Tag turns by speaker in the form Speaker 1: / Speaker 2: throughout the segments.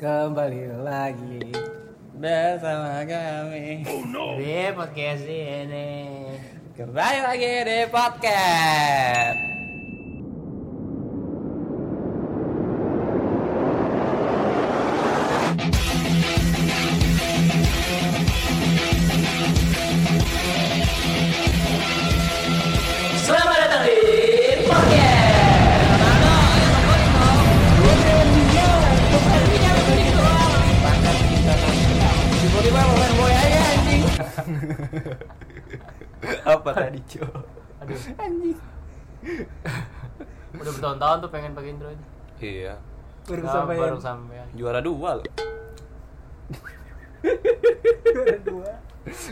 Speaker 1: kembali lagi bersama kami
Speaker 2: Di podcast ini
Speaker 1: kembali lagi di podcast
Speaker 2: Selamat datang di podcast
Speaker 1: tiba-tiba bukan boy aja anjing apa tadi cok
Speaker 2: Aduh,
Speaker 1: anjing
Speaker 2: udah bertahun-tahun tuh pengen pakai intro ini
Speaker 3: Iya.
Speaker 1: baru
Speaker 2: Nah,
Speaker 1: sampai
Speaker 2: Baru sampai
Speaker 3: Juara dua loh.
Speaker 1: dua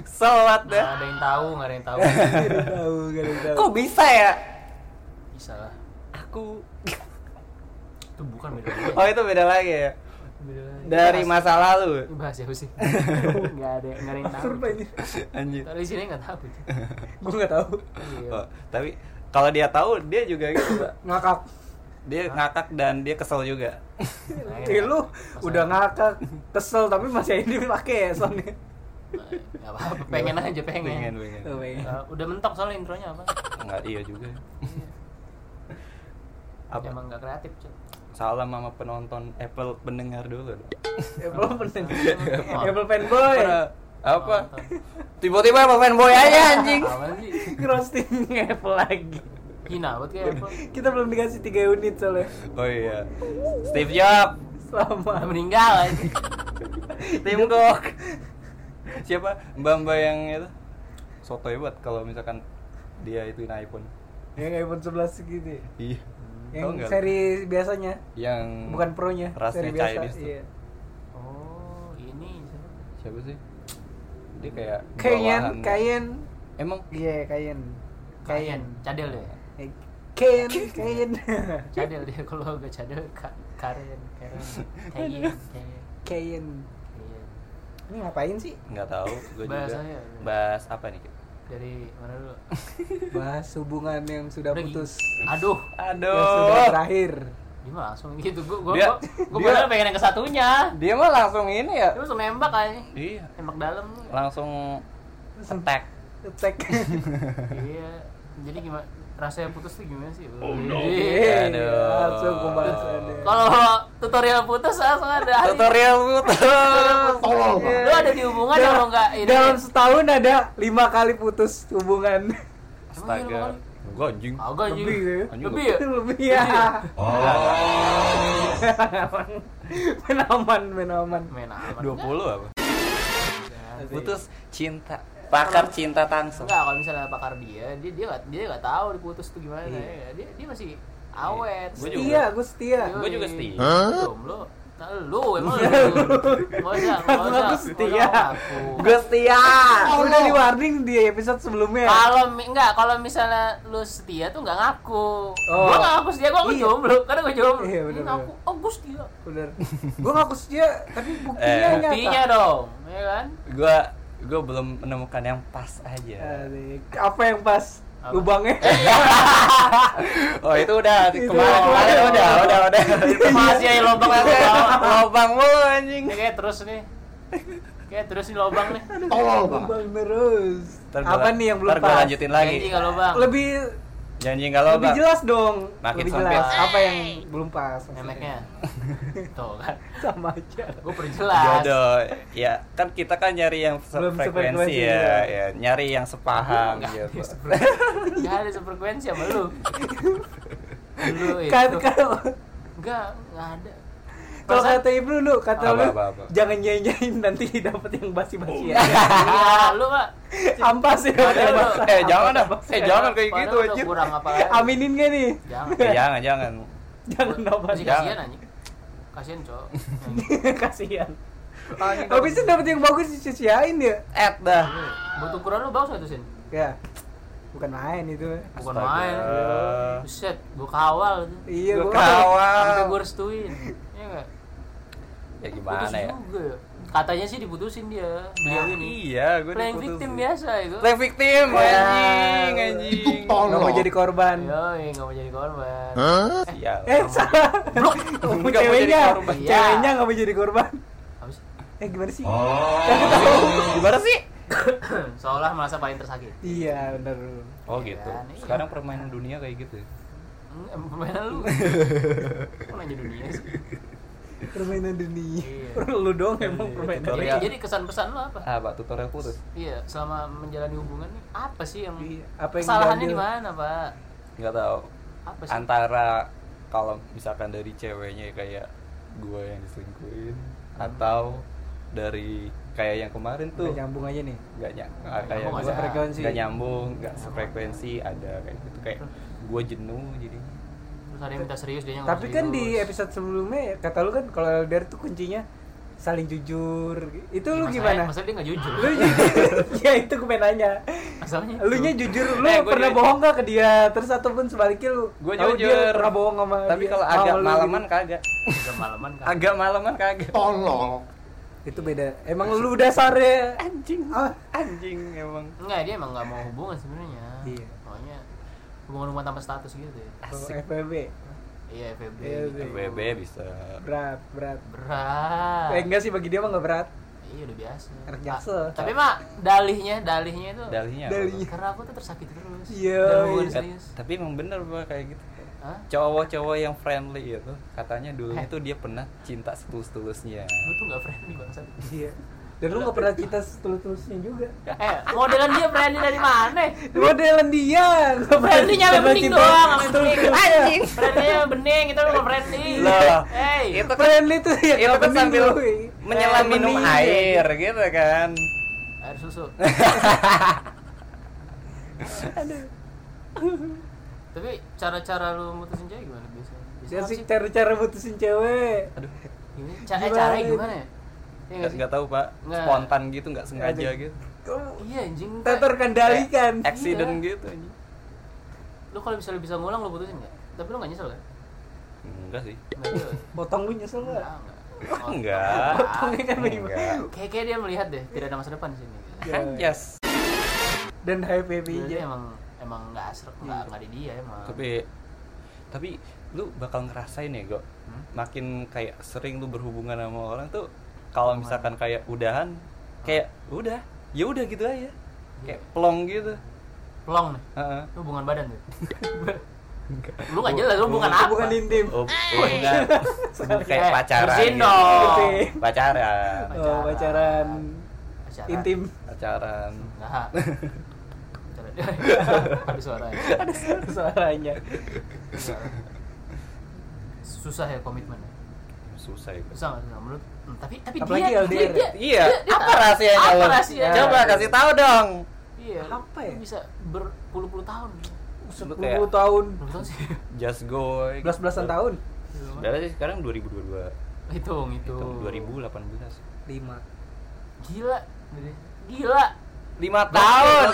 Speaker 3: Selat
Speaker 2: Nggak ada yang tahu, nggak ada yang tahu
Speaker 1: gak ada yang tahu gak ada yang tahu
Speaker 3: Kok bisa ya?
Speaker 2: Bisa lah
Speaker 3: Aku.
Speaker 2: Itu bukan beda lagi
Speaker 3: Oh itu beda lagi ya.
Speaker 2: Beda lagi.
Speaker 3: Dari masa lalu.
Speaker 2: Ini bahas siapa sih? Nggak ada, nggak ada yang tahu
Speaker 1: Sumpah ini
Speaker 3: Anjir.
Speaker 2: Kalau di sini nggak tahu cuy.
Speaker 1: gue nggak tahu
Speaker 2: Iya.
Speaker 3: Oh, tapi kalau dia tahu dia juga gitu. Pak.
Speaker 1: ngakak
Speaker 3: Dia ngakak dan dia kesel juga.
Speaker 2: Nah, ini
Speaker 1: Eh, lu
Speaker 2: nggak-
Speaker 1: udah ngakak kesel tapi masih ini pakai ya soalnya
Speaker 2: Nah, nggak apa-apa, pengen aja pengen,
Speaker 3: Pengen pengen.
Speaker 1: Tuh, Mei.
Speaker 2: Nah, Udah mentok soalnya intronya apa?
Speaker 3: Enggak iya juga. Apa?
Speaker 2: Emang nggak kreatif cuy
Speaker 3: Salam sama penonton Apple pendengar dulu. dong.
Speaker 1: Apple pen
Speaker 2: Apple.
Speaker 1: Apple fanboy
Speaker 3: Para- Apa? Tiba-tiba Apple fanboy aja anjing.
Speaker 2: Apaan sih?
Speaker 1: Roasting Apple lagi
Speaker 2: Hina banget kayak apa?
Speaker 1: Kita belum dikasih 3 unit soalnya
Speaker 3: Oh iya. Steve
Speaker 2: Udah
Speaker 3: Jobs.
Speaker 1: Selama
Speaker 2: meninggal anjing.
Speaker 3: Tim Cook. Siapa? Mbak-mbak yang itu sotoy banget kalau misalkan dia ituin iPhone.
Speaker 1: Yang iPhone 11 segitu ya?
Speaker 3: Iya. Tau
Speaker 1: Yang
Speaker 3: nggak?
Speaker 1: seri biasanya
Speaker 3: yang
Speaker 1: Bukan pro-nya
Speaker 3: rasnya
Speaker 1: Seri biasa
Speaker 3: Chinese tuh.
Speaker 1: iya.
Speaker 2: Oh, ini siapa?
Speaker 3: Siapa sih? Dia kayak
Speaker 1: Kayen,
Speaker 3: bawahan.
Speaker 1: Kayen
Speaker 3: Emang
Speaker 1: Iya, Kayen
Speaker 2: Kayan, cadel ya.
Speaker 1: Eh, Kayen, Kayen
Speaker 2: Cadel dia kalau gak cadel ka karen, karen, Iya. kayen, kayen,
Speaker 1: Kayen
Speaker 2: kayen.
Speaker 1: Ini ngapain sih?
Speaker 3: nggak tahu gue juga.
Speaker 2: Bahas
Speaker 1: ya?
Speaker 2: aja.
Speaker 3: Bahas apa nih? Kit?
Speaker 2: Dari mana dulu?
Speaker 1: Bahas hubungan yang sudah
Speaker 2: Udah, gitu.
Speaker 1: putus
Speaker 2: gi- Aduh,
Speaker 1: Yang Ya sudah
Speaker 3: Aduh.
Speaker 1: terakhir
Speaker 2: gimana langsung gitu? Gue gue
Speaker 3: Dia-
Speaker 2: gue
Speaker 3: dia-
Speaker 2: padahal pengen yang ke satunya.
Speaker 3: Dia mah langsung ini ya.
Speaker 2: Dia langsung nembak aja.
Speaker 3: Iya.
Speaker 2: Nembak dalam.
Speaker 3: Langsung attack.
Speaker 1: Cek
Speaker 2: Iya. Jadi gimana? Rasanya putus tuh gimana sih?
Speaker 3: Oh,
Speaker 1: Yeay,
Speaker 2: Iya.
Speaker 3: Aduh.
Speaker 1: Langsung pembahasannya
Speaker 2: Kalau tutorial putus langsung ada. hari.
Speaker 3: Tutorial Iya. putus.
Speaker 2: Tolol. Lu ada di hubungan kalau nggak ini? ya?
Speaker 1: Dalam setahun ada lima kali putus hubungan
Speaker 2: Emang iya,
Speaker 3: Astaga.
Speaker 2: emang
Speaker 3: Gue anjing.
Speaker 2: Agak anjing.
Speaker 1: Lebih ya?
Speaker 3: Anjing
Speaker 2: Lebih ya?
Speaker 1: Itu lebih
Speaker 3: Iya.
Speaker 1: ya
Speaker 3: Oh.
Speaker 1: Main aman, main aman
Speaker 2: ya? Main aman.
Speaker 3: 20 apa?
Speaker 1: Iya.
Speaker 2: Enggak.
Speaker 3: Putus cinta. Pakar cinta tangsel.
Speaker 2: Enggak, kalau misalnya bakar dia, dia dia nggak dia nggak tahu diputus tuh gimana ya. Dia dia masih awet.
Speaker 3: Gua juga.
Speaker 1: Setia, gue setia
Speaker 2: Yoi.
Speaker 3: Gua juga setia.
Speaker 2: Jomblo. Nah, lu emang lu. Masa
Speaker 1: Karena
Speaker 2: masa
Speaker 1: aku setia.
Speaker 2: Gue
Speaker 3: setia.
Speaker 1: Ah, udah di warning di episode sebelumnya
Speaker 2: kalau mi- enggak, kalau misalnya lu setia tuh enggak ngaku.
Speaker 1: Oh.
Speaker 2: Gua enggak ngaku setia, gua ngaku
Speaker 1: Iya.
Speaker 2: jomblo. Karena gua jomblo.
Speaker 1: Iya,
Speaker 2: Ini
Speaker 1: bener,
Speaker 2: ngaku, oh gua setia.
Speaker 1: Bener Gue ngaku setia, tapi buktinya
Speaker 3: Eh,
Speaker 1: nyata
Speaker 2: Buktinya dong, ya kan?
Speaker 3: Gua gua belum menemukan yang pas aja.
Speaker 1: Adik, Apa yang pas?
Speaker 2: Apa?
Speaker 1: Lubangnya
Speaker 3: Eh, ya, Oh, itu udah di-
Speaker 1: Itu
Speaker 3: kemarin.
Speaker 1: kemarin.
Speaker 3: Kemarin udah, udah, udah.
Speaker 2: Masih aja lobang aja.
Speaker 3: Lobang mulu anjing.
Speaker 2: Ini kayak terus nih. Kayak terus nih lobang nih.
Speaker 1: Lubang terus
Speaker 3: Ntar gua-
Speaker 1: Apa nih yang belum
Speaker 3: ntar gua
Speaker 1: pas?
Speaker 3: lanjutin lagi.
Speaker 2: Janji kalau bang.
Speaker 1: Lebih
Speaker 3: Janji kalau
Speaker 1: lebih jelas dong
Speaker 3: Makin
Speaker 1: Lebih
Speaker 3: sempit.
Speaker 1: jelas, apa yang belum pas maksudnya.
Speaker 2: Nemeknya. Tuh kan.
Speaker 1: Sama aja
Speaker 2: Gue perjelas.
Speaker 3: jodoh. Ya, kan kita kan nyari yang
Speaker 1: Belum sefrekuensi,
Speaker 3: sefrekuensi ya,
Speaker 1: iya.
Speaker 3: ya, nyari yang sepaham
Speaker 2: Nggak
Speaker 3: gitu.
Speaker 2: ada sefrekuensi. Nggak ada sefrekuensi sama lu. Lu itu.
Speaker 1: Kan kalau
Speaker 2: Enggak, enggak ada.
Speaker 1: Kalau
Speaker 2: Perasaan-
Speaker 1: kata ibu lu, kata
Speaker 3: Apa,
Speaker 1: lu,
Speaker 3: apa, apa?
Speaker 1: jangan nyanyain nanti dapet yang basi-basi ya.
Speaker 2: Iya, lu Pak.
Speaker 1: Ampas ya.
Speaker 2: Ada
Speaker 1: Mas.
Speaker 2: lu.
Speaker 3: Eh, jangan dah. Eh, jangan kayak
Speaker 2: Padahal
Speaker 3: gitu
Speaker 2: udah
Speaker 3: anjir.
Speaker 2: Kurang apa lagi?
Speaker 1: Aminin gak nih?
Speaker 2: Jangan.
Speaker 3: Eh, jangan, jangan.
Speaker 1: Jangan apa
Speaker 2: Masih
Speaker 3: Jangan.
Speaker 2: kasihan anjing. Kasihan, Cok.
Speaker 1: Kasihan. Habisnya dapet yang bagus diciciain ya.
Speaker 3: Ed dah.
Speaker 2: Buat ukuran lu bagus nggak tuh, Sin?
Speaker 1: Ya. Bukan main itu.
Speaker 2: Bukan
Speaker 3: Astaga.
Speaker 2: main. Buset, gua kawal tuh.
Speaker 1: Iya,
Speaker 3: Gua
Speaker 1: gua
Speaker 2: Sampai
Speaker 3: kawal.
Speaker 2: gua restuin. Iya enggak?
Speaker 3: Ya
Speaker 2: Putus
Speaker 3: gimana ya?
Speaker 2: juga ya. Katanya sih diputusin dia. Beliau ini.
Speaker 3: Iya, gue
Speaker 2: Playing victim ya. biasa itu.
Speaker 3: Playing victim,
Speaker 1: Ya.
Speaker 3: anjing, anjing.
Speaker 1: Nggak mau jadi korban.
Speaker 2: Iya. Yoi, nggak mau jadi korban. Eh,
Speaker 3: Iya.
Speaker 1: Eh, salah.
Speaker 3: Blok. Nggak mau jadi
Speaker 1: ceweknya.
Speaker 3: korban.
Speaker 2: Iya.
Speaker 1: Ceweknya nggak mau jadi korban.
Speaker 2: Apa sih?
Speaker 1: Eh, gimana
Speaker 3: Oh.
Speaker 1: sih?
Speaker 3: Gimana sih?
Speaker 2: Ya, Seolah merasa paling tersakiti.
Speaker 1: Iya, benar.
Speaker 3: Oh gitu.
Speaker 2: Iya, iya.
Speaker 3: Sekarang permainan dunia kayak gitu. ya?
Speaker 2: Hmm, em, Permainan lu. Kok nanya dunia sih?
Speaker 1: Permainan dunia.
Speaker 2: Iya.
Speaker 1: Lu dong emang
Speaker 3: Iya,
Speaker 1: permainan.
Speaker 3: tutorial.
Speaker 2: Jadi, jadi kesan pesan lu apa?
Speaker 3: Ah, Pak tutorial putus.
Speaker 2: Iya, selama menjalani hubungan nih apa sih yang
Speaker 1: Iya, apa yang
Speaker 2: kesalahannya di
Speaker 1: diambil?
Speaker 2: mana, Pak?
Speaker 3: Nggak tahu.
Speaker 2: Apa sih?
Speaker 3: antara kalau misalkan dari ceweknya kayak gue yang diselingkuhin
Speaker 1: Hmm.
Speaker 3: atau dari kayak yang kemarin tuh
Speaker 1: Udah nyambung aja nih.
Speaker 3: nggak nyam kayak
Speaker 2: nyambung,
Speaker 3: gua
Speaker 2: nggak
Speaker 1: frekuensi.
Speaker 3: nggak nyambung nggak
Speaker 1: Oh.
Speaker 3: sefrekuensi ada kayak gitu kayak gue jenuh jadi
Speaker 2: Terus ada yang minta serius
Speaker 3: Iya,
Speaker 2: dia yang
Speaker 1: Tapi kan di episode sebelumnya ya, kata lu kan kalau LDR tuh kuncinya saling jujur. Itu lu gimana?
Speaker 2: Masa eh, dia nggak Iya, jujur?
Speaker 1: Lu jujur. ya itu gue pengen nanya.
Speaker 2: Masalahnya itu.
Speaker 1: Lu nya jujur, lu
Speaker 3: Eh, gua
Speaker 1: pernah
Speaker 3: jujur.
Speaker 1: bohong gak ke dia? Terus ataupun sebaliknya lu
Speaker 3: gue
Speaker 1: tahu
Speaker 3: jujur
Speaker 1: dia pernah bohong sama
Speaker 3: tapi
Speaker 1: dia-
Speaker 3: kalau
Speaker 1: sama
Speaker 3: agak
Speaker 1: lu
Speaker 3: malaman
Speaker 1: gitu. Nah.
Speaker 3: kagak
Speaker 2: Udah malaman kan.
Speaker 3: agak malaman kagak
Speaker 4: Tolong.
Speaker 1: itu beda. Emang lu dasarnya
Speaker 3: anjing
Speaker 1: Ah.
Speaker 3: anjing emang
Speaker 2: Enggak, dia emang nggak mau hubungan sebenarnya.
Speaker 1: Iya.
Speaker 2: Makanya hubungan hubungan tanpa status gitu ya.
Speaker 1: FBB
Speaker 2: Iya, FBB.
Speaker 1: Iya,
Speaker 2: gitu.
Speaker 1: Iya.
Speaker 3: BB bisa
Speaker 1: berat berat.
Speaker 2: Berat.
Speaker 1: Eh, enggak sih bagi dia mah enggak berat.
Speaker 2: Iya, udah biasa.
Speaker 1: Anak
Speaker 2: Ah,
Speaker 1: jaksel.
Speaker 2: Tapi mak dalihnya, dalihnya itu.
Speaker 3: dalihnya
Speaker 1: Dalihnya.
Speaker 2: Karena aku tuh tersakiti terus.
Speaker 1: Iya,
Speaker 2: Dan hubungan
Speaker 1: iya.
Speaker 2: serius.
Speaker 3: Eh, tapi emang bener Pak, kayak gitu
Speaker 2: Hah?
Speaker 3: cowok-cowok yang friendly itu katanya dulu itu dia pernah cinta setulus-tulusnya
Speaker 2: Lu tuh nggak friendly bangsat.
Speaker 1: Iya. Dan lu enggak pernah cinta setulus-tulusnya juga.
Speaker 2: Eh, modelan dia friendly dari mana?
Speaker 1: Modelan dia. nggak pernah
Speaker 2: Friendly nyampe
Speaker 1: pernah
Speaker 2: bening
Speaker 1: cinta Iya.
Speaker 2: doang sama bening.
Speaker 1: setulus-tulusnya.
Speaker 2: Friendly bening, itu nggak friendly.
Speaker 3: Lah,
Speaker 2: Hey.
Speaker 3: itu kan
Speaker 1: Friendly tuh
Speaker 2: Iya,
Speaker 1: ya
Speaker 3: itu
Speaker 1: kalau
Speaker 3: kan
Speaker 1: bening
Speaker 3: sambil
Speaker 1: lu, eh,
Speaker 3: menyelam
Speaker 1: bening.
Speaker 3: minum air gitu kan
Speaker 2: Air susu. Tapi cara-cara lu mutusin cewek gimana biasanya?
Speaker 1: Ya
Speaker 2: Biasanya
Speaker 1: sih
Speaker 2: apa
Speaker 1: cara-cara mutusin cewek.
Speaker 3: aduh
Speaker 2: Gimana? Cara, eh, caranya
Speaker 1: Gimana?
Speaker 2: gimana ya? Iya nggak
Speaker 3: nggak
Speaker 2: sih?
Speaker 3: nggak tahu pak
Speaker 2: Nggak.
Speaker 3: spontan gitu nggak sengaja
Speaker 1: Aduh.
Speaker 3: gitu
Speaker 1: Kau
Speaker 2: Iya anjing.
Speaker 1: tak terkendalikan.
Speaker 3: Kayak accident
Speaker 2: Iya.
Speaker 3: gitu anjing.
Speaker 2: Lu kalau misalnya bisa ngulang lu putusin nggak? Tapi lu nggak nyesel kan?
Speaker 3: enggak sih
Speaker 2: Nggak nyesel.
Speaker 1: Potong lu nyesel
Speaker 2: Nggak,
Speaker 1: enggak?
Speaker 2: nggak. Oh,
Speaker 3: enggak
Speaker 1: Potongnya kan bagaimana?
Speaker 3: Enggak.
Speaker 2: Kayak kayak dia melihat deh, tidak ada masa depan di sini.
Speaker 1: Ya.
Speaker 3: yes
Speaker 1: Dan HPP
Speaker 2: Berarti
Speaker 1: aja.
Speaker 2: emang emang nggak asrek, nggak nggak di dia emang.
Speaker 3: tapi tapi lu bakal ngerasain ya kok
Speaker 2: Hmm?
Speaker 3: makin kayak sering lu berhubungan sama orang tuh kalau misalkan kayak udahan kayak udah ya udah gitu aja kayak
Speaker 2: Iya.
Speaker 3: plong gitu
Speaker 2: Pelong nih,
Speaker 3: Heeh.
Speaker 2: Itu hubungan badan tuh. lu nggak jelas, lu hubungan apa?
Speaker 1: Bukan intim.
Speaker 3: Oh, bukan. Bukan kayak
Speaker 2: Eh,
Speaker 3: pacaran.
Speaker 2: bersihin
Speaker 3: gitu.
Speaker 2: dong.
Speaker 1: Bersihin.
Speaker 3: Pacaran.
Speaker 1: Oh,
Speaker 2: pacaran.
Speaker 1: pacaran
Speaker 2: Pacaran.
Speaker 1: intim.
Speaker 3: Pacaran.
Speaker 2: Enggak. Pacaran. Ada ya? suaranya.
Speaker 1: Suaranya.
Speaker 2: Susah ya komitmennya.
Speaker 3: Susah ya.
Speaker 2: Susah nggak susah menurut. Hmm, tapi tapi
Speaker 1: Apalagi
Speaker 2: dia,
Speaker 1: LDR.
Speaker 2: dia, dia,
Speaker 3: Iya,
Speaker 2: dia- dia
Speaker 3: apa
Speaker 2: tahu.
Speaker 3: rahasianya
Speaker 2: Apa
Speaker 3: lo?
Speaker 2: rahasianya?
Speaker 3: Coba kasih tahu dong.
Speaker 2: Iya.
Speaker 1: Apa ya?
Speaker 2: lu Bisa berpuluh-puluh tahun. gitu.
Speaker 3: Lu
Speaker 1: 10
Speaker 3: kayak
Speaker 1: tahun,
Speaker 2: Belum tahu sih.
Speaker 3: just go.
Speaker 1: belas-belasan tahun.
Speaker 3: Udah sih sekarang 2022.
Speaker 2: Hitung,
Speaker 3: Itu
Speaker 2: hitung.
Speaker 3: 2018.
Speaker 1: 5.
Speaker 2: Gila. Gila.
Speaker 3: 5 tahun.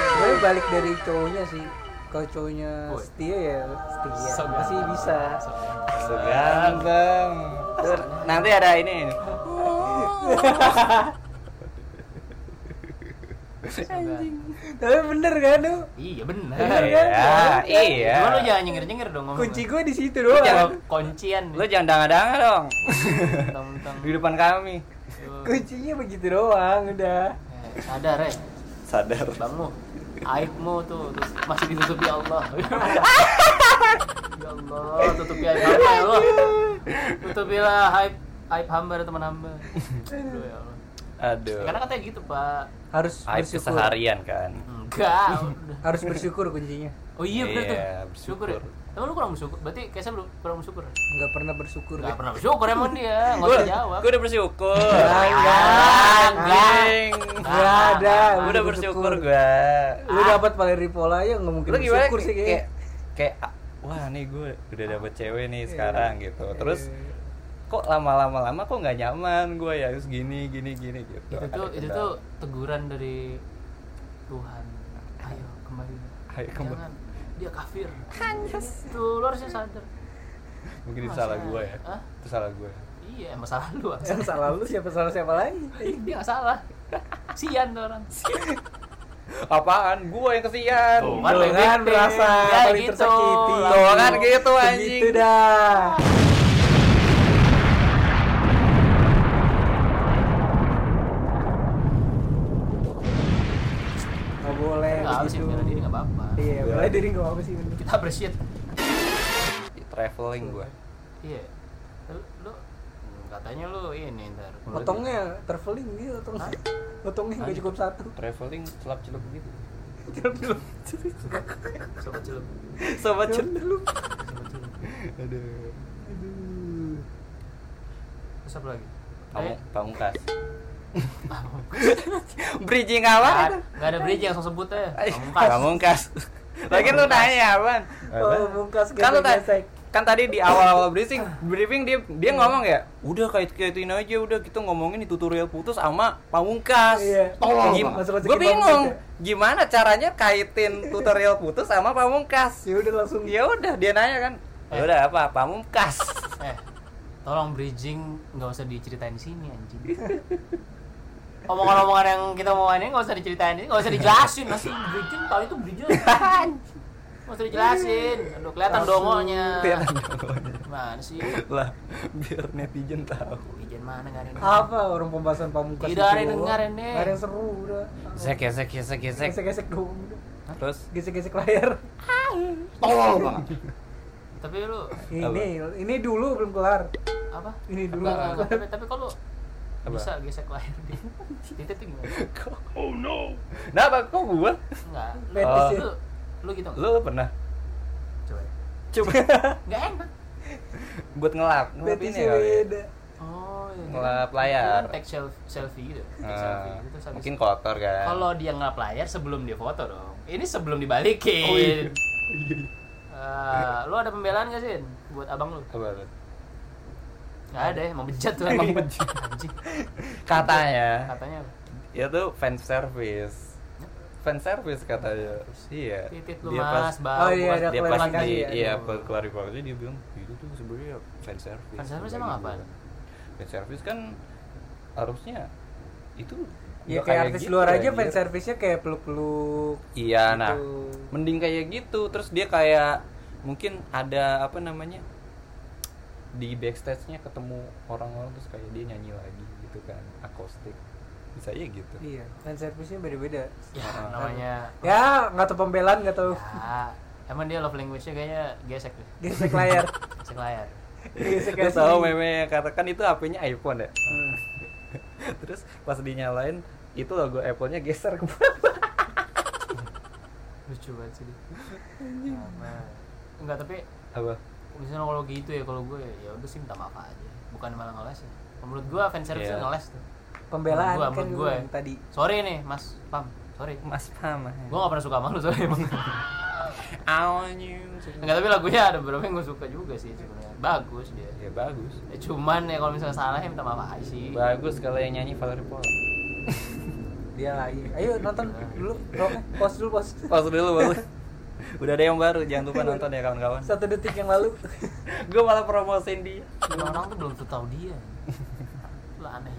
Speaker 1: Gue balik dari cowoknya sih. Kalau cowoknya
Speaker 2: Woi.
Speaker 1: setia ya setia.
Speaker 2: Sobat.
Speaker 1: Masih bisa.
Speaker 3: Seganteng. Tuh, Nanti ada ini.
Speaker 2: Anjing.
Speaker 1: Tapi bener kan lu?
Speaker 2: Iya benar.
Speaker 3: Iya, iya.
Speaker 2: Cuma lu jangan nyengir-nyengir dong ngomong. Iya.
Speaker 1: Kunci gue di situ
Speaker 2: lu jangan
Speaker 1: doang.
Speaker 2: kuncian.
Speaker 3: Lu jangan danga-danga dong
Speaker 2: tentang
Speaker 3: di depan kami.
Speaker 1: Kuncinya begitu doang udah.
Speaker 2: sadar ya.
Speaker 3: Sadar.
Speaker 2: Bangmu. Aibmu tuh terus masih ditutupi Allah. ya Allah, tutupi aib hamba ya Allah. Tutupilah aib aib hamba dan teman hamba. Aduh, ya Allah.
Speaker 3: Aduh.
Speaker 2: Karena katanya gitu, Pak.
Speaker 1: Harus
Speaker 3: Aib
Speaker 1: bersyukur.
Speaker 3: keseharian kan.
Speaker 2: Enggak. udah.
Speaker 1: Harus bersyukur kuncinya.
Speaker 2: Oh iya benar tuh.
Speaker 3: Iya,
Speaker 2: Bersyukur. ya?
Speaker 3: bersyukur.
Speaker 2: Emang lu kurang bersyukur. Berarti kayaknya lu kurang bersyukur. ya?
Speaker 1: Enggak pernah bersyukur.
Speaker 2: Enggak
Speaker 1: kan?
Speaker 2: pernah bersyukur emang dia. Enggak usah jawab.
Speaker 3: Gue udah bersyukur.
Speaker 2: Enggak,
Speaker 3: Anjing.
Speaker 1: Enggak ada.
Speaker 3: Gue udah bersyukur gue.
Speaker 1: Lu dapat Valeri Pola ya nggak mungkin
Speaker 3: Lu gimana?
Speaker 1: bersyukur sih
Speaker 3: kayak
Speaker 1: kayak.
Speaker 3: kayak ah, wah nih gue udah dapet cewek nih
Speaker 2: Iya.
Speaker 3: sekarang gitu. Terus kok lama-lama lama kok nggak nyaman gue ya terus gini gini gini
Speaker 2: itu tuh
Speaker 3: gitu. Ada
Speaker 2: itu
Speaker 3: kendala.
Speaker 2: tuh teguran dari Tuhan ayo kembali
Speaker 3: Ayo kembali.
Speaker 2: jangan dia kafir itu lo harusnya sadar
Speaker 3: mungkin itu
Speaker 2: Masa-
Speaker 3: salah gue ya.
Speaker 2: Hah?
Speaker 3: Itu salah gue.
Speaker 2: iya emang salah lu Aksan.
Speaker 1: Yang salah lu siapa salah siapa lagi?
Speaker 2: dia nggak salah sian tuh orang
Speaker 3: apaan gua yang kesian
Speaker 1: Tuh
Speaker 2: Tuh, Kan
Speaker 1: kan
Speaker 2: lebih-
Speaker 1: merasa
Speaker 2: Ya,
Speaker 1: paling
Speaker 2: gitu.
Speaker 1: tersakiti.
Speaker 3: Tuh kan gitu, anjing.
Speaker 1: Gitu dah. Gak boleh
Speaker 2: Nggak harus
Speaker 3: gitu.
Speaker 1: begitu.
Speaker 2: yang bela diri nggak apa-apa.
Speaker 1: Iya, bela diri gak apa sih bener.
Speaker 2: Kita appreciate.
Speaker 3: traveling gua
Speaker 2: Iya. Lu, lu katanya lu ini ntar.
Speaker 1: Potongnya traveling gitu, potong.
Speaker 2: Hah?
Speaker 1: Potongnya gak
Speaker 2: Lanjut.
Speaker 1: cukup satu.
Speaker 3: traveling celap celup gitu
Speaker 2: Sobat celup.
Speaker 3: sobat
Speaker 1: dulu.
Speaker 2: Sobat celup.
Speaker 3: aduh
Speaker 1: Aduh.
Speaker 2: Terus apa lagi?
Speaker 3: kamu
Speaker 2: Eh,
Speaker 3: pamungkas bridging apa
Speaker 2: Nggak ada bridge langsung sebut aja. Pamungkas.
Speaker 3: pamungkas lagi lu nanya apaan
Speaker 1: Oh, mungkas
Speaker 3: kan lu tadi
Speaker 1: gesek-gesek.
Speaker 3: kan tadi di awal-awal briefing briefing dia dia
Speaker 1: Iya.
Speaker 3: ngomong ya udah kait kaitin aja udah kita ngomongin di tutorial putus sama pamungkas
Speaker 1: Iya.
Speaker 3: tolong
Speaker 1: Gim- Masuk-masuk
Speaker 3: gue
Speaker 1: ke
Speaker 3: bingung
Speaker 1: pamungkas ya.
Speaker 3: gimana caranya kaitin tutorial putus sama pamungkas
Speaker 1: Ya udah langsung.
Speaker 2: Iya.
Speaker 3: ya udah dia nanya kan ya udah apa pamungkas
Speaker 2: Eh, tolong bridging nggak usah diceritain di sini anjing. Omongan-omongan yang kita mau ini nggak usah diceritain ini, nggak usah dijelasin. Masih bridging kali itu bridging. Nggak usah dijelasin. Aduh kelihatan
Speaker 1: Langsung.
Speaker 2: dongonya.
Speaker 3: Kelihatan dongonya.
Speaker 2: Mana sih?
Speaker 3: lah biar netizen tahu
Speaker 2: Bridging mana nggak ada. yang-
Speaker 1: Apa orang pembahasan pamungkas?
Speaker 2: Tidak ada
Speaker 1: itu
Speaker 2: yang
Speaker 1: doang.
Speaker 2: dengar ini.
Speaker 1: Nggak ada yang seru udah.
Speaker 3: gesek gesek gesek gesek
Speaker 1: Gesek-gesek doang udah.
Speaker 3: terus
Speaker 1: Gesek-gesek layar.
Speaker 3: tolong banget
Speaker 2: Tapi lu
Speaker 1: Ini ini dulu belum kelar.
Speaker 2: apa?
Speaker 1: Ini dulu.
Speaker 2: Nggak, nggak, nggak. Tapi, tapi kalau
Speaker 3: Apa?
Speaker 2: bisa gesek lahir di titik tuh gimana?
Speaker 3: oh no kenapa kok gua
Speaker 2: Enggak.
Speaker 1: Fetish
Speaker 2: Lu,
Speaker 1: ya.
Speaker 2: lu, lu gitu nggak?
Speaker 3: Oh. lu pernah
Speaker 2: Coba.
Speaker 3: coba
Speaker 2: Nggak enak.
Speaker 3: buat ngelap ngelap ini
Speaker 1: Betisnya
Speaker 3: kali ya.
Speaker 1: beda.
Speaker 2: Oh, iya.
Speaker 3: Ngelap
Speaker 2: Itu
Speaker 3: layar.
Speaker 2: Kan tag self- selfie gitu. Tag selfie
Speaker 3: Ah,
Speaker 2: gitu terus habis-
Speaker 3: mungkin kotor kan
Speaker 2: kalau dia ngelap layar sebelum dia foto dong. Ini sebelum dibalikin.
Speaker 3: Oh, iya.
Speaker 2: Eh, lu ada pembelaan gak sih buat abang lu?
Speaker 3: Apa tuh?
Speaker 2: Gak ada ya, mau bejat tuh emang bejat. Anjing.
Speaker 3: katanya
Speaker 2: Katanya apa?
Speaker 3: itu Ya fan service fan service katanya iya
Speaker 2: titit lu
Speaker 3: Dia
Speaker 2: mas,
Speaker 3: pas-
Speaker 2: bau.
Speaker 1: Oh, iya,
Speaker 2: mas,
Speaker 1: ada
Speaker 3: dia pas
Speaker 1: klarifikasi
Speaker 3: di
Speaker 1: ya?
Speaker 3: iya pas klarifikasi dia bilang itu tuh sebenarnya fan service
Speaker 2: Fan service
Speaker 3: Sebenarnya
Speaker 2: emang
Speaker 3: gitu
Speaker 2: apaan?
Speaker 3: kan. fan service kan harusnya itu
Speaker 1: Ya
Speaker 3: nggak
Speaker 1: kayak artis
Speaker 3: gitu,
Speaker 1: luar aja
Speaker 3: anjir.
Speaker 1: fan service-nya kayak peluk-peluk.
Speaker 3: iya nah
Speaker 1: gitu.
Speaker 3: mending kayak gitu terus dia kayak mungkin ada apa namanya di backstage-nya ketemu orang-orang terus kayak dia nyanyi lagi gitu kan akustik bisa ya gitu
Speaker 1: Iya, fan service-nya beda-beda. Nah,
Speaker 3: Iya,
Speaker 2: Ya, namanya.
Speaker 1: Ya, nggak tahu pembelaan, nggak tahu
Speaker 2: Ya, emang dia love language-nya kayaknya gesek deh.
Speaker 1: gesek layar.
Speaker 2: Gesek layar.
Speaker 1: Gesek
Speaker 3: Gue
Speaker 1: asli.
Speaker 3: tahu meme kata kan itu HP-nya iPhone ya.
Speaker 1: Hmm.
Speaker 3: Terus pas dinyalain itu logo Apple-nya geser ke bawah.
Speaker 2: Lucu banget sih dia. Sama. Nah, Enggak, tapi
Speaker 3: Apa?
Speaker 2: misalnya kalau gitu ya kalau gue ya udah sih minta maaf aja bukan malah ngeles ya menurut gue fan service
Speaker 3: Iya.
Speaker 2: tuh ngeles tuh
Speaker 1: Pembelaan
Speaker 2: Menurut gua,
Speaker 1: kan
Speaker 2: menurut
Speaker 1: gua
Speaker 2: gua. ya.
Speaker 1: yang tadi.
Speaker 2: sorry nih mas pam sorry
Speaker 3: Mas Pam.
Speaker 2: gue gak pernah suka sama lu sorry emang
Speaker 3: Awan you.
Speaker 2: nggak tapi lagunya ada beberapa yang gue suka juga sih sebenarnya bagus dia
Speaker 3: Ya bagus.
Speaker 2: Ya, cuman ya kalau misalnya salah ya minta maaf aja sih
Speaker 3: Bagus kalau yang nyanyi Valerie Pola.
Speaker 1: Dia lagi. Ayo nonton dulu, Roknya. pause dulu, pause.
Speaker 3: Pas dulu baru. Udah ada yang baru, jangan lupa nonton ya kawan-kawan.
Speaker 1: Satu detik yang lalu.
Speaker 3: Gue malah promosiin dia.
Speaker 2: orang tuh belum tuh tahu dia lah aneh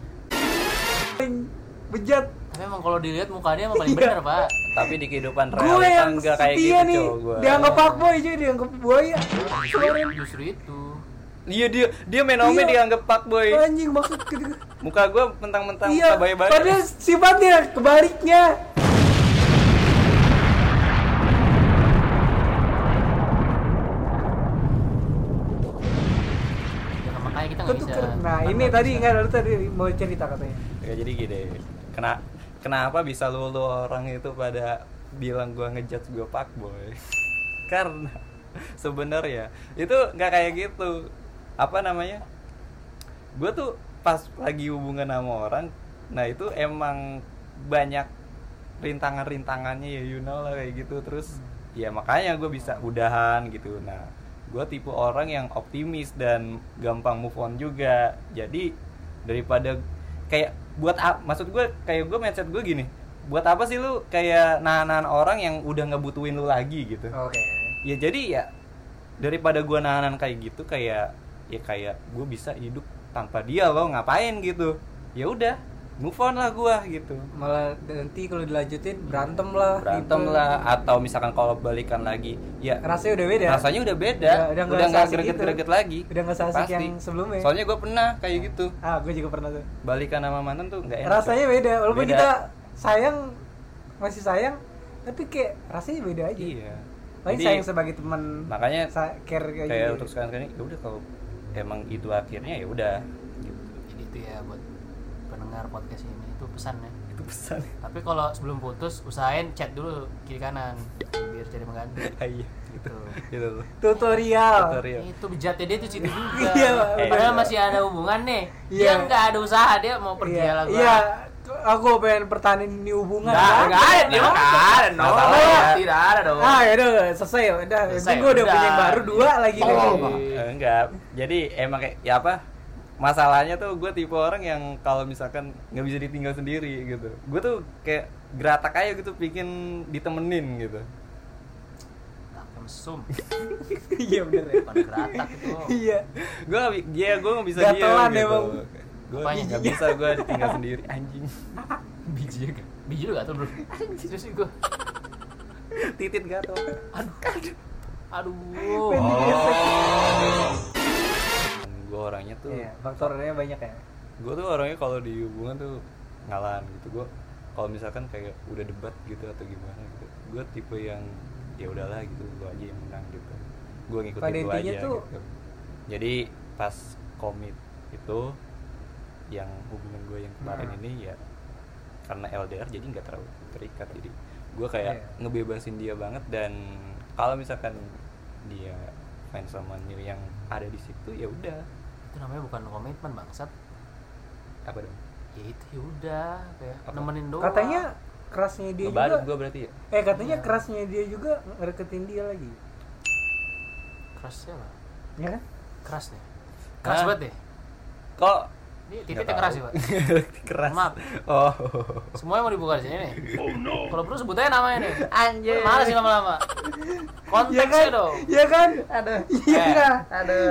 Speaker 1: Paling Bejat.
Speaker 2: tapi emang kalau dilihat mukanya emang paling
Speaker 1: Iya.
Speaker 2: benar pak
Speaker 3: Tapi di kehidupan
Speaker 1: Gue
Speaker 3: realita
Speaker 1: yang
Speaker 3: enggak kayak
Speaker 1: setia
Speaker 3: gitu
Speaker 1: nih.
Speaker 3: cowok gue.
Speaker 1: Dianggap fuckboy aja, dianggap buaya. Kemarin.
Speaker 2: justru itu
Speaker 3: Iya dia dia main ome
Speaker 1: Iya.
Speaker 3: dianggap fuckboy.
Speaker 1: Anjing maksud gitu.
Speaker 3: Muka gue mentang-mentang
Speaker 1: Iya,
Speaker 3: muka bayi-bayi.
Speaker 1: padahal sifatnya kebaliknya.
Speaker 2: ya makanya kita nggak bisa
Speaker 1: Ketuker. Nah, ini
Speaker 2: nggak
Speaker 1: tadi
Speaker 2: bisa.
Speaker 1: enggak lu tadi mau cerita katanya.
Speaker 3: Ya jadi gini, kena kenapa bisa lu, lu orang itu pada bilang gua ngejudge gua fuckboy? Karena sebenarnya itu nggak kayak gitu. Apa namanya? Gua tuh pas lagi hubungan sama orang, nah itu emang banyak rintangan-rintangannya ya you know lah kayak gitu terus ya makanya gue bisa udahan gitu nah gue tipe orang yang optimis dan gampang move on juga jadi daripada kayak buat ap- maksud gue kayak gue mindset gue gini buat apa sih lu kayak nahan-nahan orang yang udah ngebutuin lu lagi gitu
Speaker 1: Oke.
Speaker 3: ya jadi ya daripada gua nahanan kayak gitu kayak ya kayak gue bisa hidup tanpa dia loh ngapain gitu ya udah move on lah gua gitu
Speaker 1: malah nanti kalau dilanjutin berantem lah
Speaker 3: berantem
Speaker 1: gitu.
Speaker 3: lah atau misalkan kalau balikan lagi ya
Speaker 1: rasanya udah beda
Speaker 3: rasanya udah beda
Speaker 1: Ya, udah
Speaker 3: udah
Speaker 1: nggak
Speaker 3: nggak
Speaker 1: seasik
Speaker 3: greget greget
Speaker 1: itu.
Speaker 3: lagi
Speaker 1: Udah nggak seasik
Speaker 3: Pasti.
Speaker 1: yang sebelumnya.
Speaker 3: soalnya gue pernah kayak gitu
Speaker 1: ah gue juga pernah tuh
Speaker 3: balikan sama mantan tuh nggak enak
Speaker 1: rasanya beda walaupun
Speaker 3: Beda.
Speaker 1: kita sayang masih sayang tapi kayak rasanya beda aja
Speaker 3: iya
Speaker 1: paling
Speaker 3: Jadi,
Speaker 1: sayang sebagai teman
Speaker 3: makanya
Speaker 1: sa- care kayak,
Speaker 3: kayak
Speaker 1: gitu.
Speaker 3: untuk sekarang sekarang ya udah kalau emang itu akhirnya ya udah gitu.
Speaker 2: Jadi itu ya buat pendengar podcast ini itu pesannya.
Speaker 3: itu Gitu, pesan
Speaker 2: Tapi kalau sebelum putus usahain chat dulu kiri kanan biar cari mengganti.
Speaker 3: Ah, iya
Speaker 2: Gitu.
Speaker 3: gitu tuh
Speaker 1: tutorial
Speaker 3: tutorial
Speaker 2: Itu bejatnya dia tuh situ juga.
Speaker 1: Iya,
Speaker 2: Padahal
Speaker 3: bener.
Speaker 2: masih ada hubungan nih.
Speaker 1: Iya.
Speaker 2: Dia nggak ada usaha dia mau pergi
Speaker 1: iya
Speaker 2: lah Oh, gua.
Speaker 1: iya aku pengen pertahanin ini hubungan
Speaker 2: Nggak,
Speaker 1: Nah,
Speaker 2: nggak ada, dia mah nggak ada, no.
Speaker 3: Masalahnya-
Speaker 2: Tidak ada dong.
Speaker 1: ah ya udah selesai ya udah
Speaker 2: Selesai,
Speaker 1: gue udah
Speaker 2: udah.
Speaker 1: punya yang baru dua lagi
Speaker 2: Oh,
Speaker 1: nih.
Speaker 2: Pak.
Speaker 3: Eh, enggak jadi emang kayak ya apa masalahnya tuh gue tipe orang yang kalau misalkan nggak bisa ditinggal sendiri gitu gue tuh kayak geratak aja gitu bikin ditemenin gitu
Speaker 2: Kemsum.
Speaker 1: iya bener ya
Speaker 2: Pada geratak itu.
Speaker 1: iya
Speaker 3: gue dia gue nggak bisa
Speaker 1: Gatelan
Speaker 3: dia gitu
Speaker 1: emang.
Speaker 3: gue
Speaker 2: Apanya?
Speaker 3: nggak bisa gue ditinggal sendiri anjing
Speaker 2: Biji juga. Biji juga tuh, Bro. Serius nih gua.
Speaker 3: titit gatel
Speaker 2: Aduh. Aduh. Aduh.
Speaker 3: Oh. gue orangnya tuh
Speaker 1: iya faktornya banyak ya
Speaker 3: gue tuh orangnya kalau di hubungan tuh ngalan gitu gue kalau misalkan kayak udah debat gitu atau gimana gitu gue tipe yang ya udahlah gitu gue aja yang menang gitu gue ngikutin
Speaker 1: Pada
Speaker 3: gue
Speaker 1: intinya
Speaker 3: aja
Speaker 1: tuh-
Speaker 3: gitu jadi pas komit itu yang hubungan gue yang kemarin
Speaker 1: Nah.
Speaker 3: ini ya karena LDR jadi nggak terlalu terikat jadi gue kayak
Speaker 1: Iya.
Speaker 3: ngebebasin dia banget dan kalau misalkan dia main sama new yang ada di situ ya udah
Speaker 2: Itu namanya bukan komitmen, Bangsat.
Speaker 3: apa dong
Speaker 2: Ya itu ya udah kayak
Speaker 3: Apa?
Speaker 2: nemenin doang.
Speaker 1: katanya kerasnya dia
Speaker 3: ngebalut
Speaker 1: juga
Speaker 3: gue berarti ya
Speaker 1: eh katanya kerasnya dia juga ngereketin dia lagi
Speaker 2: kerasnya lah.
Speaker 1: ya kan
Speaker 2: Keras nih. Keras
Speaker 3: Hah?
Speaker 2: banget deh.
Speaker 3: kok
Speaker 2: Ini
Speaker 3: Nggak
Speaker 2: titiknya keras sih,
Speaker 3: tahu.
Speaker 2: Pak.
Speaker 3: keras
Speaker 2: Maaf.
Speaker 3: oh
Speaker 2: Semuanya mau dibuka di sini nih. Kalau perlu sebut aja namanya nih. Anjir. Males sih lama-lama.
Speaker 3: Ya
Speaker 1: Iya
Speaker 2: Konteksnya
Speaker 1: kan?
Speaker 2: dong.
Speaker 1: Iya kan? Ada. Iya
Speaker 2: Eh,
Speaker 1: enggak?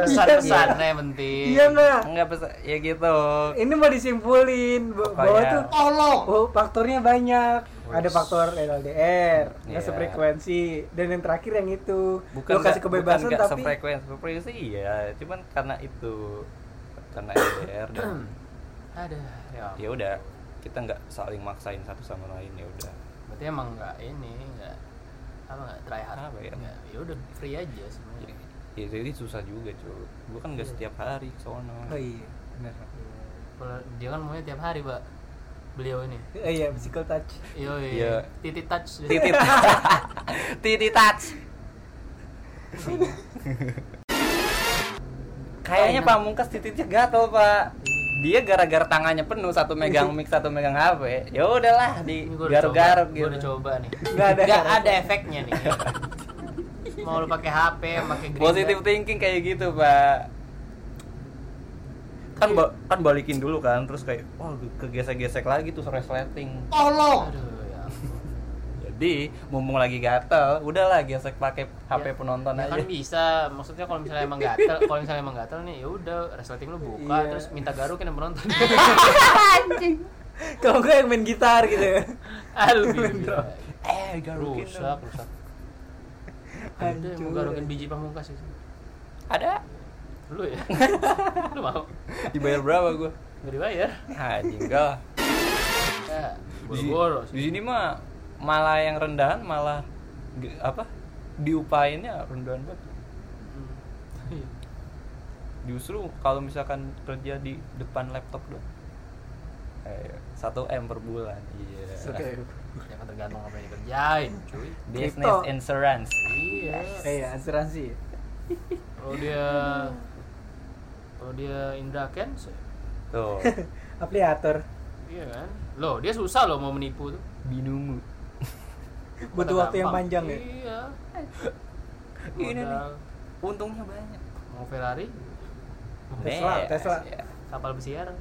Speaker 2: Pesan-pesannya yang penting.
Speaker 1: Iya enggak?
Speaker 3: enggak pesa- ya gitu
Speaker 1: Ini mau disimpulin b- bahwa
Speaker 3: Pokoknya-
Speaker 1: tuh oh, faktornya banyak. Ada faktor LDR, nggak
Speaker 3: Iya.
Speaker 1: sefrekuensi, dan yang terakhir yang itu
Speaker 3: bukan
Speaker 1: lo kasih
Speaker 3: nggak-
Speaker 1: kebebasan
Speaker 3: bukan nggak
Speaker 1: tapi
Speaker 3: sefrekuensi sefrekuensi ya cuman karena itu karena LDR dan
Speaker 2: Ada. Ya.
Speaker 3: ya udah kita nggak saling maksain satu sama lain ya udah
Speaker 2: Berarti emang nggak ini, nggak apa nggak try hard.
Speaker 3: Apa ya?
Speaker 2: Nggak, ya udah free aja semuanya.
Speaker 3: ya jadi susah juga cuy gue kan nggak
Speaker 2: Iya.
Speaker 3: setiap hari ke sono
Speaker 1: Oh iya, benar.
Speaker 2: Kalau dia kan maunya tiap hari, Pak. Beliau ini.
Speaker 1: Eh, iya, physical touch.
Speaker 2: Yo,
Speaker 3: Iya.
Speaker 2: titik touch.
Speaker 3: titit titit touch kayaknya pamungkas tititnya gatel pak
Speaker 2: Iya.
Speaker 3: dia gara-gara tangannya penuh satu megang mic satu megang hp ya udahlah di
Speaker 2: Ini gua udah
Speaker 3: garuk-garuk
Speaker 2: coba,
Speaker 3: gitu
Speaker 2: Gua udah coba nih.
Speaker 1: Nggak ada.
Speaker 2: Nggak ada efeknya nih. Mau lu pakai HP, pakai green.
Speaker 3: positive
Speaker 2: light.
Speaker 3: thinking kayak gitu pak kan ba- kan balikin dulu kan terus kayak wah kegesek-gesek lagi tuh resleting
Speaker 2: Aduh, ya. ampun.
Speaker 3: jadi mumpung lagi gatel udahlah gesek pakai hp
Speaker 2: Ya,
Speaker 3: penonton
Speaker 2: ya
Speaker 3: aja
Speaker 2: kan bisa maksudnya kalau misalnya emang gatel kalau misalnya emang gatel nih ya udah resleting lu buka
Speaker 1: Iya.
Speaker 2: terus minta garukin yang penonton
Speaker 1: Kalau gue yang main gitar gitu
Speaker 3: Iya.
Speaker 1: ya.
Speaker 2: aduh gila
Speaker 3: eh garukin
Speaker 2: rusak
Speaker 3: dong.
Speaker 2: rusak ada yang mau
Speaker 1: Hancur. eh.
Speaker 2: garukin biji pamungkas itu
Speaker 3: ada
Speaker 2: lu ya lu mau
Speaker 3: dibayar berapa gue
Speaker 2: nggak dibayar
Speaker 3: anjing enggak lah.
Speaker 2: ya
Speaker 3: Di-
Speaker 2: boros
Speaker 3: di sini mah malah yang rendahan malah ge- apa diupainnya rendahan banget
Speaker 2: Hmm.
Speaker 3: justru kalau misalkan kerja di depan laptop dong Eh, satu m per bulan iya
Speaker 1: Oke.
Speaker 2: ya kan tergantung apa yang dikerjain cuy
Speaker 3: business
Speaker 1: Kripto.
Speaker 3: insurance
Speaker 2: iya
Speaker 1: Eh, iya, asuransi.
Speaker 2: kalau dia kalau dia Indra Kens
Speaker 3: tuh
Speaker 1: Apliator.
Speaker 2: iya kan loh dia susah loh mau menipu tuh
Speaker 3: binumu
Speaker 1: Butuh
Speaker 2: Pada
Speaker 1: waktu yang
Speaker 2: gampang.
Speaker 1: panjang ya.
Speaker 2: Iya.
Speaker 3: Ini
Speaker 2: Modal
Speaker 3: untungnya banyak
Speaker 2: mau Ferrari,
Speaker 1: Tesla,
Speaker 3: Beres,
Speaker 1: Tesla.
Speaker 3: ya.
Speaker 2: kapal pesiar.
Speaker 1: Alam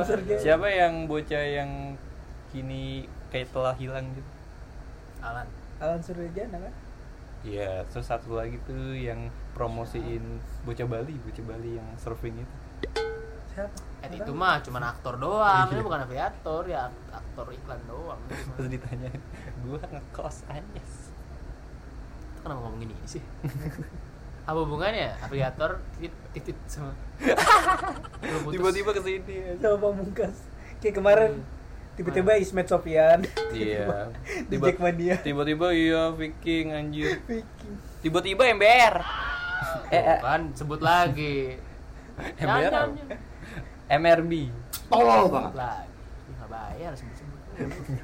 Speaker 3: siapa,
Speaker 1: surga.
Speaker 3: siapa yang bocah yang kini kayak telah hilang gitu
Speaker 2: Alan.
Speaker 1: Alam Surjana kan?
Speaker 3: Iya, terus satu lagi tuh yang promosiin bocah Bali, bocah Bali yang surfing itu.
Speaker 1: Siapa?
Speaker 2: Ed Eh, itu mah cuman aktor doang, itu bukan aviator ya aktor iklan doang.
Speaker 3: Terus ditanya, gua ngekos aja.
Speaker 2: Itu kenapa ngomong gini sih? Apa hubungannya aviator titit, titit sama Lu putus.
Speaker 3: Tiba-tiba kesini aja.
Speaker 1: Sama pamungkas. Kayak kemarin
Speaker 3: Hmm.
Speaker 1: tiba-tiba Ismet Sofian.
Speaker 3: Iya.
Speaker 1: Di Jackmania.
Speaker 3: Tiba-tiba iya Viking anjir.
Speaker 1: Viking.
Speaker 3: Tiba-tiba MBR. Eh, eh,
Speaker 2: Bukan, sebut lagi.
Speaker 3: MBR.
Speaker 2: Jangan,
Speaker 3: apa? Oh,
Speaker 2: jangan.
Speaker 3: MRB. Tolol banget.
Speaker 2: Sebut lagi. Ini nggak bayar sebut-sebut.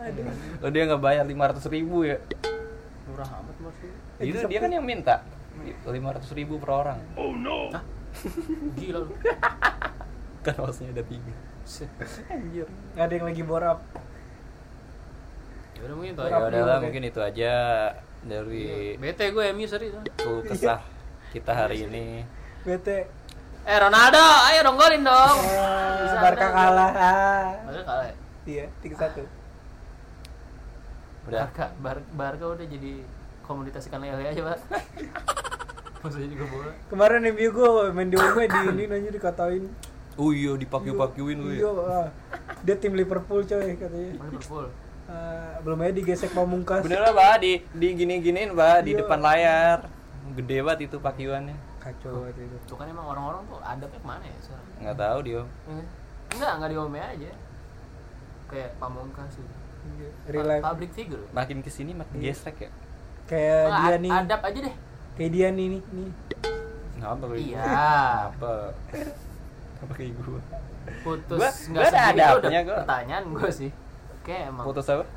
Speaker 1: Aduh.
Speaker 3: Oh dia nggak bayar 500 ribu ya.
Speaker 2: Murah amat maksudnya.
Speaker 1: Eh,
Speaker 3: Itu
Speaker 1: bisa
Speaker 3: dia kan yang minta 500 ribu per orang.
Speaker 2: Hah? Gila lu.
Speaker 3: Kan maksudnya ada tiga.
Speaker 1: Anjir. Nggak ada yang lagi borap.
Speaker 2: Ya udah mungkin itu
Speaker 3: Ya
Speaker 2: aja.
Speaker 1: Berapa
Speaker 3: udahlah
Speaker 1: ribu,
Speaker 3: mungkin itu aja dari
Speaker 2: Bete gue MU seri. tuh.
Speaker 3: keluh kesah kita hari ini.
Speaker 1: Bete.
Speaker 2: Eh Ronaldo, ayo dong golin dong.
Speaker 1: Ah,
Speaker 2: Bisa
Speaker 1: Barca
Speaker 2: dong.
Speaker 1: kalah. Ah.
Speaker 2: Barca kalah. ya?
Speaker 1: Iya, 3-1.
Speaker 3: Udah.
Speaker 2: Barca, Bar Barca udah jadi komunitas ikan lele aja, Pak. Maksudnya juga bola.
Speaker 1: Kemarin MU gue main di gue di ini nanya dikatain.
Speaker 3: Oh iya dipakai-pakuin lu
Speaker 1: Iya,
Speaker 3: ya.
Speaker 1: ah. Dia tim Liverpool coy katanya.
Speaker 2: Mana Liverpool.
Speaker 1: Ah, belum aja digesek pamungkas.
Speaker 3: Bener lah, Pak, di di gini-giniin, Pak, di
Speaker 1: Iya.
Speaker 3: depan layar. Gede banget itu pakiwannya.
Speaker 1: Kacau banget itu.
Speaker 2: Tuh kan emang orang-orang tuh adabnya kemana ya sekarang?
Speaker 3: Nggak tahu dia.
Speaker 2: Eh, Enggak, enggak diome aja. Kayak pamungkas gitu.
Speaker 1: Iya, Real
Speaker 2: Pa-
Speaker 1: life.
Speaker 2: Public figure.
Speaker 3: Makin kesini makin gesrek ya.
Speaker 1: Kayak
Speaker 2: Ah,
Speaker 1: dia
Speaker 2: ad-
Speaker 1: nih.
Speaker 2: Adab aja deh.
Speaker 1: Kayak dia nih nih. nih.
Speaker 3: Kenapa kayak gua?
Speaker 2: Iya.
Speaker 3: Kenapa? Kenapa kayak gua?
Speaker 2: Putus
Speaker 3: Gua-
Speaker 2: nggak
Speaker 3: gua ada
Speaker 2: sendiri itu
Speaker 3: adabnya, gua.
Speaker 2: pertanyaan gue sih. Kayak emang
Speaker 3: Putus apa?
Speaker 1: Nggak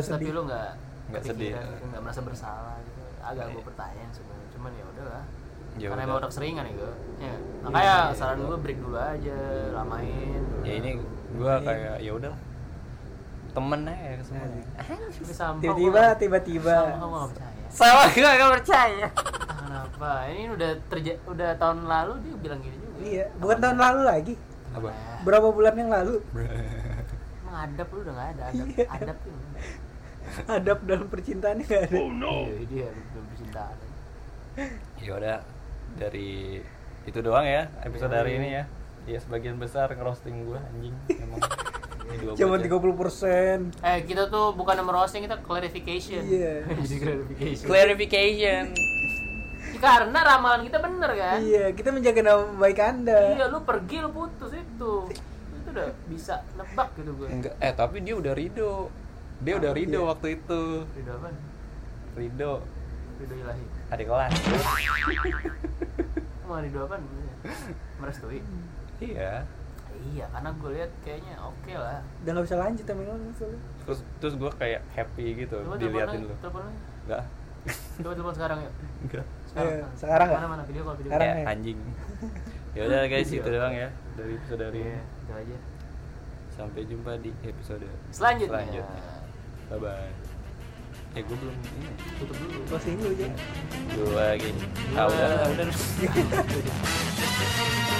Speaker 2: putus
Speaker 1: sedih.
Speaker 2: tapi lu nggak
Speaker 3: Nggak
Speaker 2: kepikiran,
Speaker 3: sedih. ya.
Speaker 2: gitu, nggak merasa bersalah gitu agak
Speaker 3: Iya.
Speaker 2: gue pertanyaan sebenarnya cuman ya udahlah
Speaker 3: Ya
Speaker 2: karena
Speaker 3: udah. Iya,
Speaker 2: emang udah keseringan ya gue ya. makanya saran gue break dulu aja lamain
Speaker 3: Ya ini gua kayak ya udah. Temen aja ya semua.
Speaker 2: Tapi sampah
Speaker 1: Tiba-tiba
Speaker 2: gua-
Speaker 1: tiba-tiba.
Speaker 2: sampah gue nggak percaya
Speaker 3: Sama gua gak percaya.
Speaker 2: Entah kenapa ini udah terja udah tahun lalu dia bilang gini juga
Speaker 1: Iya, bukan tahun lalu lagi.
Speaker 3: Apa?
Speaker 2: Eh,
Speaker 1: Berapa bulan yang lalu?
Speaker 2: emang adab lu udah nggak ada adab
Speaker 1: Iya.
Speaker 2: adab tuh
Speaker 1: Adab dalam percintaan nggak ada.
Speaker 2: Iya, dia belum bercintaan
Speaker 3: Ya udah dari itu doang ya episode hari ini ya. Ya sebagian besar ngerosting gua anjing emang. Ini dua
Speaker 1: Cuma
Speaker 3: bocah.
Speaker 1: 30 persen.
Speaker 2: eh kita tuh bukan nomor roasting kita clarification
Speaker 1: Iya.
Speaker 2: jadi clarification
Speaker 3: Clarification.
Speaker 2: Ya, karena ramalan kita bener kan
Speaker 1: Iya, kita menjaga nama baik Anda.
Speaker 2: Iya, lu pergi lu putus itu. Itu udah bisa nebak gitu gue.
Speaker 3: Enggak, eh tapi dia udah Rido. Dia udah Rido
Speaker 1: Iya.
Speaker 3: waktu itu.
Speaker 2: Ridho apa?
Speaker 3: Rido
Speaker 2: Ridho ilahi.
Speaker 3: adik kelas.
Speaker 2: Emang Ridho apa? Merestui.
Speaker 3: iya.
Speaker 2: Iya, karena gue lihat kayaknya oke lah.
Speaker 1: Udah nggak bisa lanjut sama yang lain soalnya.
Speaker 3: Terus terus gua kayak happy gitu diliatin lu.
Speaker 2: lagi, telepon lagi.
Speaker 3: Enggak.
Speaker 2: Coba telepon sekarang yuk.
Speaker 3: Enggak.
Speaker 1: Iya, sekarang nggak?
Speaker 2: Mana mana video call video.
Speaker 1: Sekarang
Speaker 3: Kayak
Speaker 1: ya?
Speaker 3: anjing. Ya udah guys,
Speaker 2: Iya.
Speaker 3: itu doang ya dari episode
Speaker 2: call.
Speaker 3: hari
Speaker 2: Iya,
Speaker 3: ini.
Speaker 2: itu aja.
Speaker 3: Sampai jumpa di episode
Speaker 2: Selanjutnya.
Speaker 3: Selanjutnya. Bye bye. Eh gua belum ini.
Speaker 2: Tutup dulu.
Speaker 1: Closing dulu aja.
Speaker 2: Iya,
Speaker 3: Gua lagi. Ah udah, udah.
Speaker 2: udah.